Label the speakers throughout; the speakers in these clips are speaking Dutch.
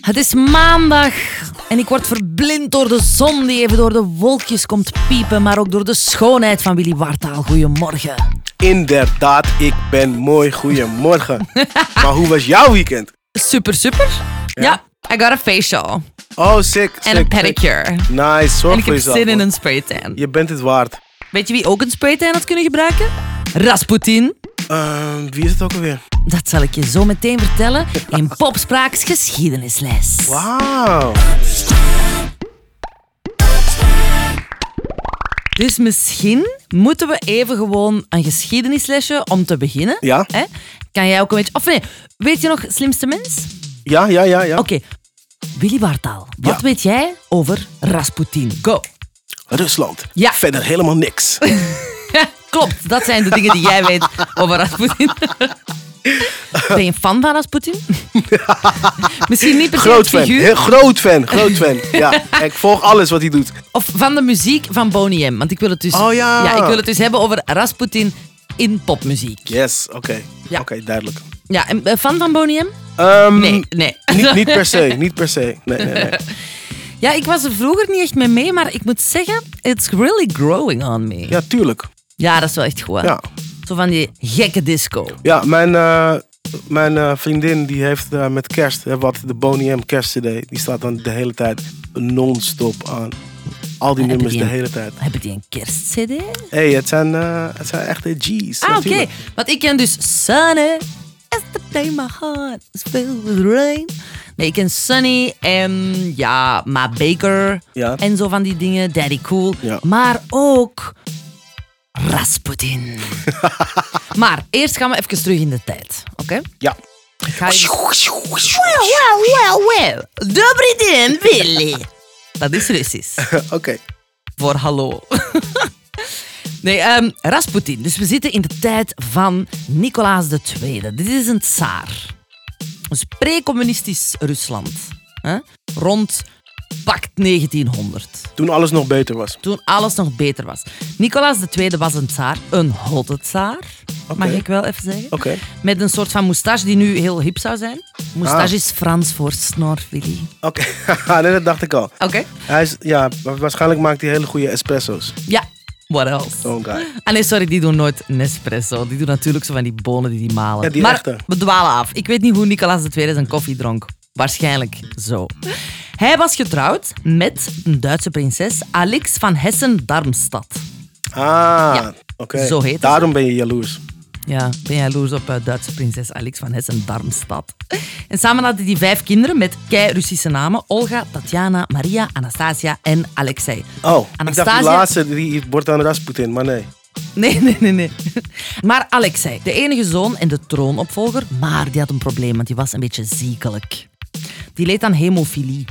Speaker 1: Het is maandag en ik word verblind door de zon die even door de wolkjes komt piepen, maar ook door de schoonheid van Willy Wartaal. Goedemorgen.
Speaker 2: Inderdaad, ik ben mooi. Goedemorgen. maar hoe was jouw weekend?
Speaker 1: Super, super. Ja, I got a facial
Speaker 2: Oh, sick.
Speaker 1: en
Speaker 2: sick,
Speaker 1: een pedicure.
Speaker 2: sick. Nice, zorg
Speaker 1: En ik
Speaker 2: voor
Speaker 1: heb
Speaker 2: jezelf.
Speaker 1: zin in
Speaker 2: man.
Speaker 1: een spraytan.
Speaker 2: Je bent het waard.
Speaker 1: Weet je wie ook een spraytan had kunnen gebruiken? Rasputin.
Speaker 2: Ehm, wie is het ook alweer?
Speaker 1: Dat zal ik je zo meteen vertellen in Popspraaks geschiedenisles.
Speaker 2: Wauw.
Speaker 1: Dus misschien moeten we even gewoon een geschiedenislesje om te beginnen.
Speaker 2: Ja.
Speaker 1: Hè? Kan jij ook een beetje... Of nee, weet je nog Slimste Mens?
Speaker 2: Ja, ja, ja, ja.
Speaker 1: Oké. Willy Wartaal, wat
Speaker 2: Ja.
Speaker 1: weet jij over Rasputin? Go.
Speaker 2: Rusland.
Speaker 1: Ja.
Speaker 2: Verder helemaal niks.
Speaker 1: Klopt, dat zijn de dingen die jij weet over Rasputin. Ben je een fan van Rasputin? Misschien niet per se
Speaker 2: Groot
Speaker 1: het
Speaker 2: fan.
Speaker 1: figuur.
Speaker 2: Heel groot fan. Groot fan. ja, ik volg alles wat hij doet.
Speaker 1: Of van de muziek van Boney M. Want ik wil het dus,
Speaker 2: Oh ja.
Speaker 1: ik wil het dus hebben over Rasputin in popmuziek.
Speaker 2: Yes, oké.
Speaker 1: Ja.
Speaker 2: Oké, duidelijk.
Speaker 1: Ja, en eh, fan van Boney M?
Speaker 2: Ehm,
Speaker 1: Nee, nee.
Speaker 2: Niet, niet per se, niet per se. Nee, nee, nee.
Speaker 1: Ja, ik was er vroeger niet echt mee mee, maar ik moet zeggen, it's really growing on me. Ja,
Speaker 2: Ja, tuurlijk.
Speaker 1: dat is wel echt goed. hè?
Speaker 2: Ja.
Speaker 1: Zo van die gekke disco.
Speaker 2: Ja, mijn, eh, mijn eh, vriendin die heeft eh, met kerst, hè, wat de Boney M kerst CD, die staat dan de hele tijd non-stop aan. Al die
Speaker 1: Hebben
Speaker 2: nummers
Speaker 1: Ah, die
Speaker 2: de
Speaker 1: een-
Speaker 2: hele tijd.
Speaker 1: Hebben die een kerstcd?
Speaker 2: hey, het zijn, eh, het zijn echte G's.
Speaker 1: Ah, oké.
Speaker 2: natuurlijk.
Speaker 1: Want ik ken dus Sunny. As the day my heart is filled with rain. Nee, ik ken Sunny en ja, Ma Baker.
Speaker 2: Ja.
Speaker 1: En zo van die dingen. Daddy Cool.
Speaker 2: Ja.
Speaker 1: Maar ook Rasputin. maar eerst gaan we even terug in de tijd. Oké?
Speaker 2: Ja.
Speaker 1: Ik ga je- Wow, wow, wow, wow. Dobry den, Willy. Dat is Russisch
Speaker 2: Oké.
Speaker 1: voor hallo. Nee, ehm, Rasputin. Dus we zitten in de tijd van Nicolaas II. Dit is een tsaar. Dus pre-communistisch Rusland. Hè? Rond pakt 1900.
Speaker 2: Toen alles nog beter was.
Speaker 1: Toen alles nog beter was. Nicolaas II was een tsaar. Een hotte tsaar. Mag ik wel even zeggen.
Speaker 2: Oké.
Speaker 1: Met een soort van moustache die nu heel hip zou zijn. Moustache
Speaker 2: Ah.
Speaker 1: is Frans voor snor, Willy.
Speaker 2: Oké. nee, dat dacht ik al.
Speaker 1: Oké.
Speaker 2: Hij is, ja, wa- waarschijnlijk maakt hij hele goede espresso's.
Speaker 1: Ja, what else?
Speaker 2: Zo'n guy.
Speaker 1: Ah nee, sorry, die doen nooit Nespresso. Die doen natuurlijk zo van die bonen die die malen.
Speaker 2: Ja, die
Speaker 1: maar
Speaker 2: echte.
Speaker 1: we dwalen af. Ik weet niet hoe Nicolaas II zijn koffie dronk. Waarschijnlijk zo. Hij was getrouwd met een Duitse prinses, Alix van Hessen-Darmstadt.
Speaker 2: Ah, oké.
Speaker 1: zo heet het.
Speaker 2: Daarom ben je jaloers.
Speaker 1: Ja, ben jij jaloers op eh, Duitse prinses Alix van Hessen-Darmstadt. En samen hadden die vijf kinderen met kei-Russische namen. Olga, Tatjana, Maria, Anastasia en Alexei.
Speaker 2: Oh, ik dacht
Speaker 1: Anastasia-
Speaker 2: die laatste, die wordt dan Rasputin, maar nee.
Speaker 1: Nee, nee, nee, nee. Maar Alexei, de enige zoon en de troonopvolger, maar die had een probleem, want die was een beetje ziekelijk. Die leed aan hemofilie.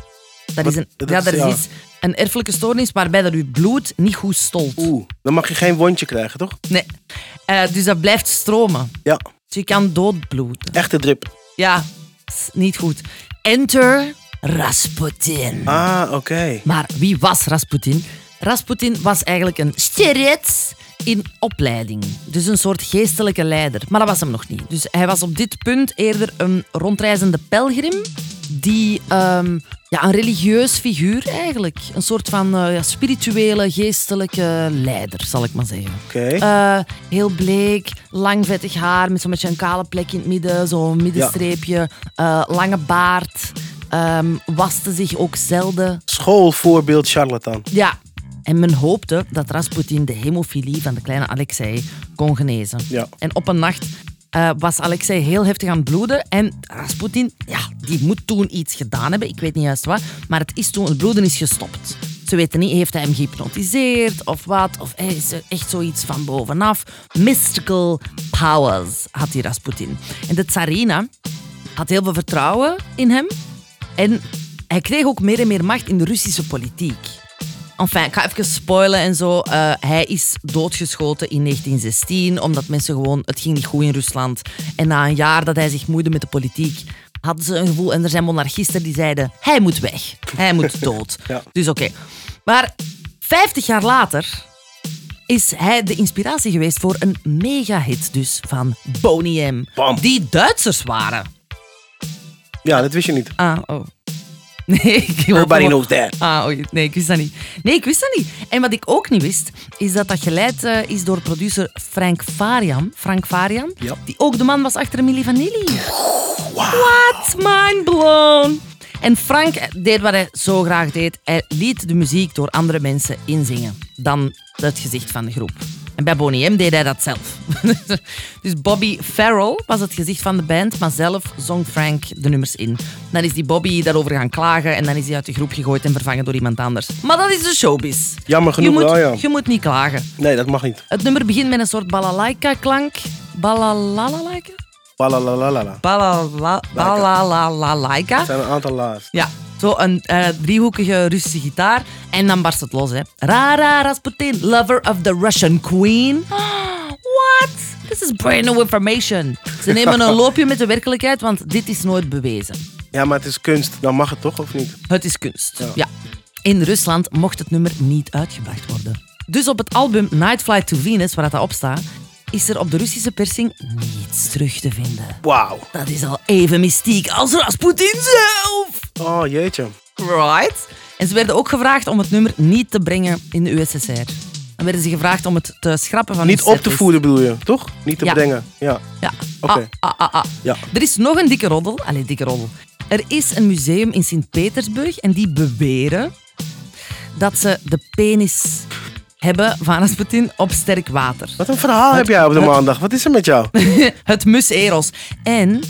Speaker 1: Dat is, een,
Speaker 2: dat
Speaker 1: ja,
Speaker 2: is-
Speaker 1: dat is
Speaker 2: ja.
Speaker 1: iets, een erfelijke stoornis waarbij dat uw bloed niet goed stolt.
Speaker 2: Oeh, dan mag je geen wondje krijgen, toch?
Speaker 1: Nee. Eh, dus dat blijft stromen.
Speaker 2: Ja,
Speaker 1: Dus je kan doodbloeden.
Speaker 2: echte drip.
Speaker 1: Ja, is niet goed. Enter Rasputin.
Speaker 2: Ah, oké.
Speaker 1: Maar wie was Rasputin? Rasputin was eigenlijk een sterets in opleiding. Dus een soort geestelijke leider. Maar dat was hem nog niet. Dus hij was op dit punt eerder een rondreizende pelgrim. Die ehm, ja, een religieus figuur eigenlijk. Een soort van eh, ja, spirituele, geestelijke leider, zal ik maar zeggen.
Speaker 2: Oké.
Speaker 1: Eh, heel bleek, lang vettig haar met zo'n beetje een kale plek in het midden, zo'n middenstreepje, eh, lange baard, ehm, waste zich ook zelden.
Speaker 2: Schoolvoorbeeld charlatan.
Speaker 1: Ja. En men hoopte dat Rasputin de hemofilie van de kleine Alexei kon genezen.
Speaker 2: Ja.
Speaker 1: En op een nacht eh, was Alexei heel heftig aan het bloeden. En Rasputin, ja, die moet toen iets gedaan hebben. Ik weet niet juist wat. Maar het, is toen, het bloeden is gestopt. Ze weten niet, heeft hij hem gehypnotiseerd of wat? Of hij is er echt zoiets van bovenaf. Mystical powers had die Rasputin. En de tsarina had heel veel vertrouwen in hem. En hij kreeg ook meer en meer macht in de Russische politiek. Enfin, ik ga even spoilen en zo. Eh, hij is doodgeschoten in 1916, omdat mensen gewoon... Het ging niet goed in Rusland. En na een jaar dat hij zich moeide met de politiek, hadden ze een gevoel... En er zijn monarchisten die zeiden, hij moet weg. Hij moet dood.
Speaker 2: Ja.
Speaker 1: Dus oké. Maar 50 jaar later is hij de inspiratie geweest voor een mega-hit dus van Boney M.
Speaker 2: Bam.
Speaker 1: Die Duitsers waren.
Speaker 2: Ja, dat wist je niet.
Speaker 1: Ah, oh. Nee, ik geloof
Speaker 2: Everybody
Speaker 1: dat wel.
Speaker 2: knows that.
Speaker 1: Ah, oei, nee, ik wist dat niet. Nee, ik wist dat niet. En wat ik ook niet wist, is dat dat geleid eh, is door producer Frank Farian. Frank Farian,
Speaker 2: Ja.
Speaker 1: die ook de man was achter Milli Vanilli. What? Mind blown. En Frank deed wat hij zo graag deed. Hij liet de muziek door andere mensen inzingen dan het gezicht van de groep. En bij Bonnie M deed hij dat zelf. dus Bobby Farrell was het gezicht van de band, maar zelf zong Frank de nummers in. Dan is die Bobby daarover gaan klagen en dan is hij uit de groep gegooid en vervangen door iemand anders. Maar dat is de showbiz.
Speaker 2: Jammer genoeg
Speaker 1: je moet,
Speaker 2: wel, ja.
Speaker 1: Je moet niet klagen.
Speaker 2: Nee, dat mag niet.
Speaker 1: Het nummer begint met een soort balalaika-klank. Balalaika?
Speaker 2: Balalalalala.
Speaker 1: Balala- Balalaika.
Speaker 2: Er zijn een aantal la's.
Speaker 1: Ja, zo een eh, driehoekige Russische gitaar. En dan barst het los, hè. Rara Rasputin, lover of the Russian queen. Ah, What? This is brand new information. Ze nemen een loopje met de werkelijkheid, want dit is nooit bewezen.
Speaker 2: Ja, maar het is kunst. Dan mag het toch, of niet?
Speaker 1: Het is kunst. Ja. In Rusland mocht het nummer niet uitgebracht worden. Dus op het album Night Flight to Venus, waar dat op staat, is er op de Russische persing niets terug te vinden.
Speaker 2: Wauw.
Speaker 1: Dat is al even mystiek als Rasputin zelf.
Speaker 2: Oh, jeetje.
Speaker 1: Right. En ze werden ook gevraagd om het nummer niet te brengen in de USSR. Dan werden ze gevraagd om het te schrappen van
Speaker 2: Niet
Speaker 1: hun
Speaker 2: op te
Speaker 1: setlist.
Speaker 2: voeden bedoel je, toch? Niet te
Speaker 1: Ja.
Speaker 2: brengen. Ja.
Speaker 1: Ja.
Speaker 2: Oké.
Speaker 1: Ah, ah, ah, ah.
Speaker 2: Ja.
Speaker 1: Er is nog een dikke roddel. Allee, dikke roddel. Er is een museum in Sint-Petersburg en die beweren dat ze de penis hebben van Rasputin op sterk water.
Speaker 2: Wat een verhaal heb jij op de maandag. Wat is er met jou?
Speaker 1: het mus Eros. En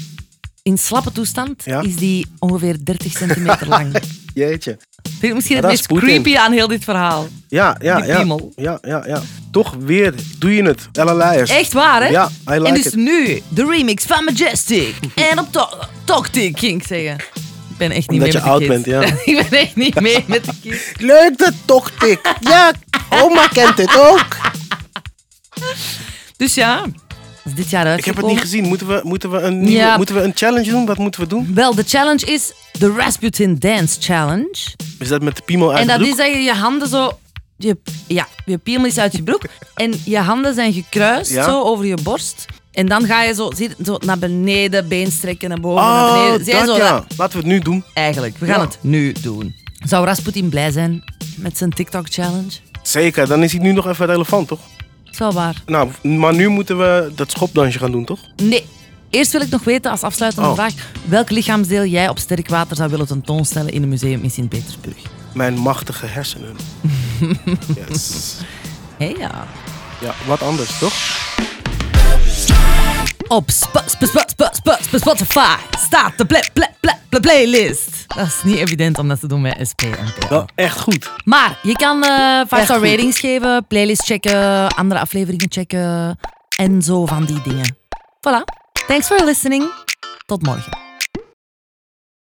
Speaker 1: in slappe toestand
Speaker 2: Ja.
Speaker 1: is die ongeveer 30 centimeter lang. Vind
Speaker 2: Jeetje.
Speaker 1: je het misschien het
Speaker 2: Ja, dat
Speaker 1: meest
Speaker 2: is Poetin.
Speaker 1: creepy aan heel dit verhaal.
Speaker 2: Ja, ja,
Speaker 1: Die
Speaker 2: ja.
Speaker 1: piemel.
Speaker 2: Ja, ja, ja. Toch weer doe je het. Ella Leijers.
Speaker 1: Echt waar, hè?
Speaker 2: Ja, I like
Speaker 1: En dus
Speaker 2: it.
Speaker 1: nu de remix van Majestic. en op to Toctic, ging ik zeggen. Ik ben echt niet mee
Speaker 2: Omdat je
Speaker 1: met de
Speaker 2: oud
Speaker 1: kids.
Speaker 2: bent, ja.
Speaker 1: ik ben echt niet mee met de kids.
Speaker 2: Leuk dat toch, Tik. Ja, oma kent het ook.
Speaker 1: Dus ja, is dit jaar uitgekomen.
Speaker 2: Ik heb het niet gezien. Moeten we, moeten we, een, nieuwe,
Speaker 1: Ja.
Speaker 2: moeten we een challenge doen? Wat moeten we doen?
Speaker 1: Wel, de challenge is de Rasputin Dance Challenge.
Speaker 2: Is dat met de piemel uit
Speaker 1: en
Speaker 2: de
Speaker 1: dat
Speaker 2: broek?
Speaker 1: is dat je je handen zo... Je, ja, je piemel is uit je broek. en je handen zijn gekruist,
Speaker 2: Ja.
Speaker 1: zo, over je borst. En dan ga je zo, zie je, zo naar beneden, been strekken, naar boven, naar
Speaker 2: Oh,
Speaker 1: beneden. Zie je
Speaker 2: dat
Speaker 1: zo,
Speaker 2: ja. Laten we het nu doen.
Speaker 1: eigenlijk. We gaan
Speaker 2: Ja.
Speaker 1: het nu doen. Zou Rasputin blij zijn met zijn TikTok-challenge?
Speaker 2: Zeker, dan is hij nu nog even relevant, toch?
Speaker 1: Dat is wel waar.
Speaker 2: Nou, maar nu moeten we dat schopdansje gaan doen, toch?
Speaker 1: Nee. Eerst wil ik nog weten, als afsluitende
Speaker 2: Oh.
Speaker 1: vraag, welk lichaamsdeel jij op sterk water zou willen tentoonstellen in een museum in Sint-Petersburg?
Speaker 2: Mijn machtige hersenen. yes.
Speaker 1: Hé ja.
Speaker 2: Ja, wat anders, toch?
Speaker 1: Op Sp- Sp- Sp- Sp- Sp- Sp- Spotify staat de ple- ple- ple- ple- playlist. Dat is niet evident om dat te doen met SP en PL.
Speaker 2: Wel echt goed.
Speaker 1: Maar je kan eh 5 star
Speaker 2: goed.
Speaker 1: ratings geven, playlist checken, andere afleveringen checken en zo van die dingen. Voilà. Thanks for listening. Tot morgen.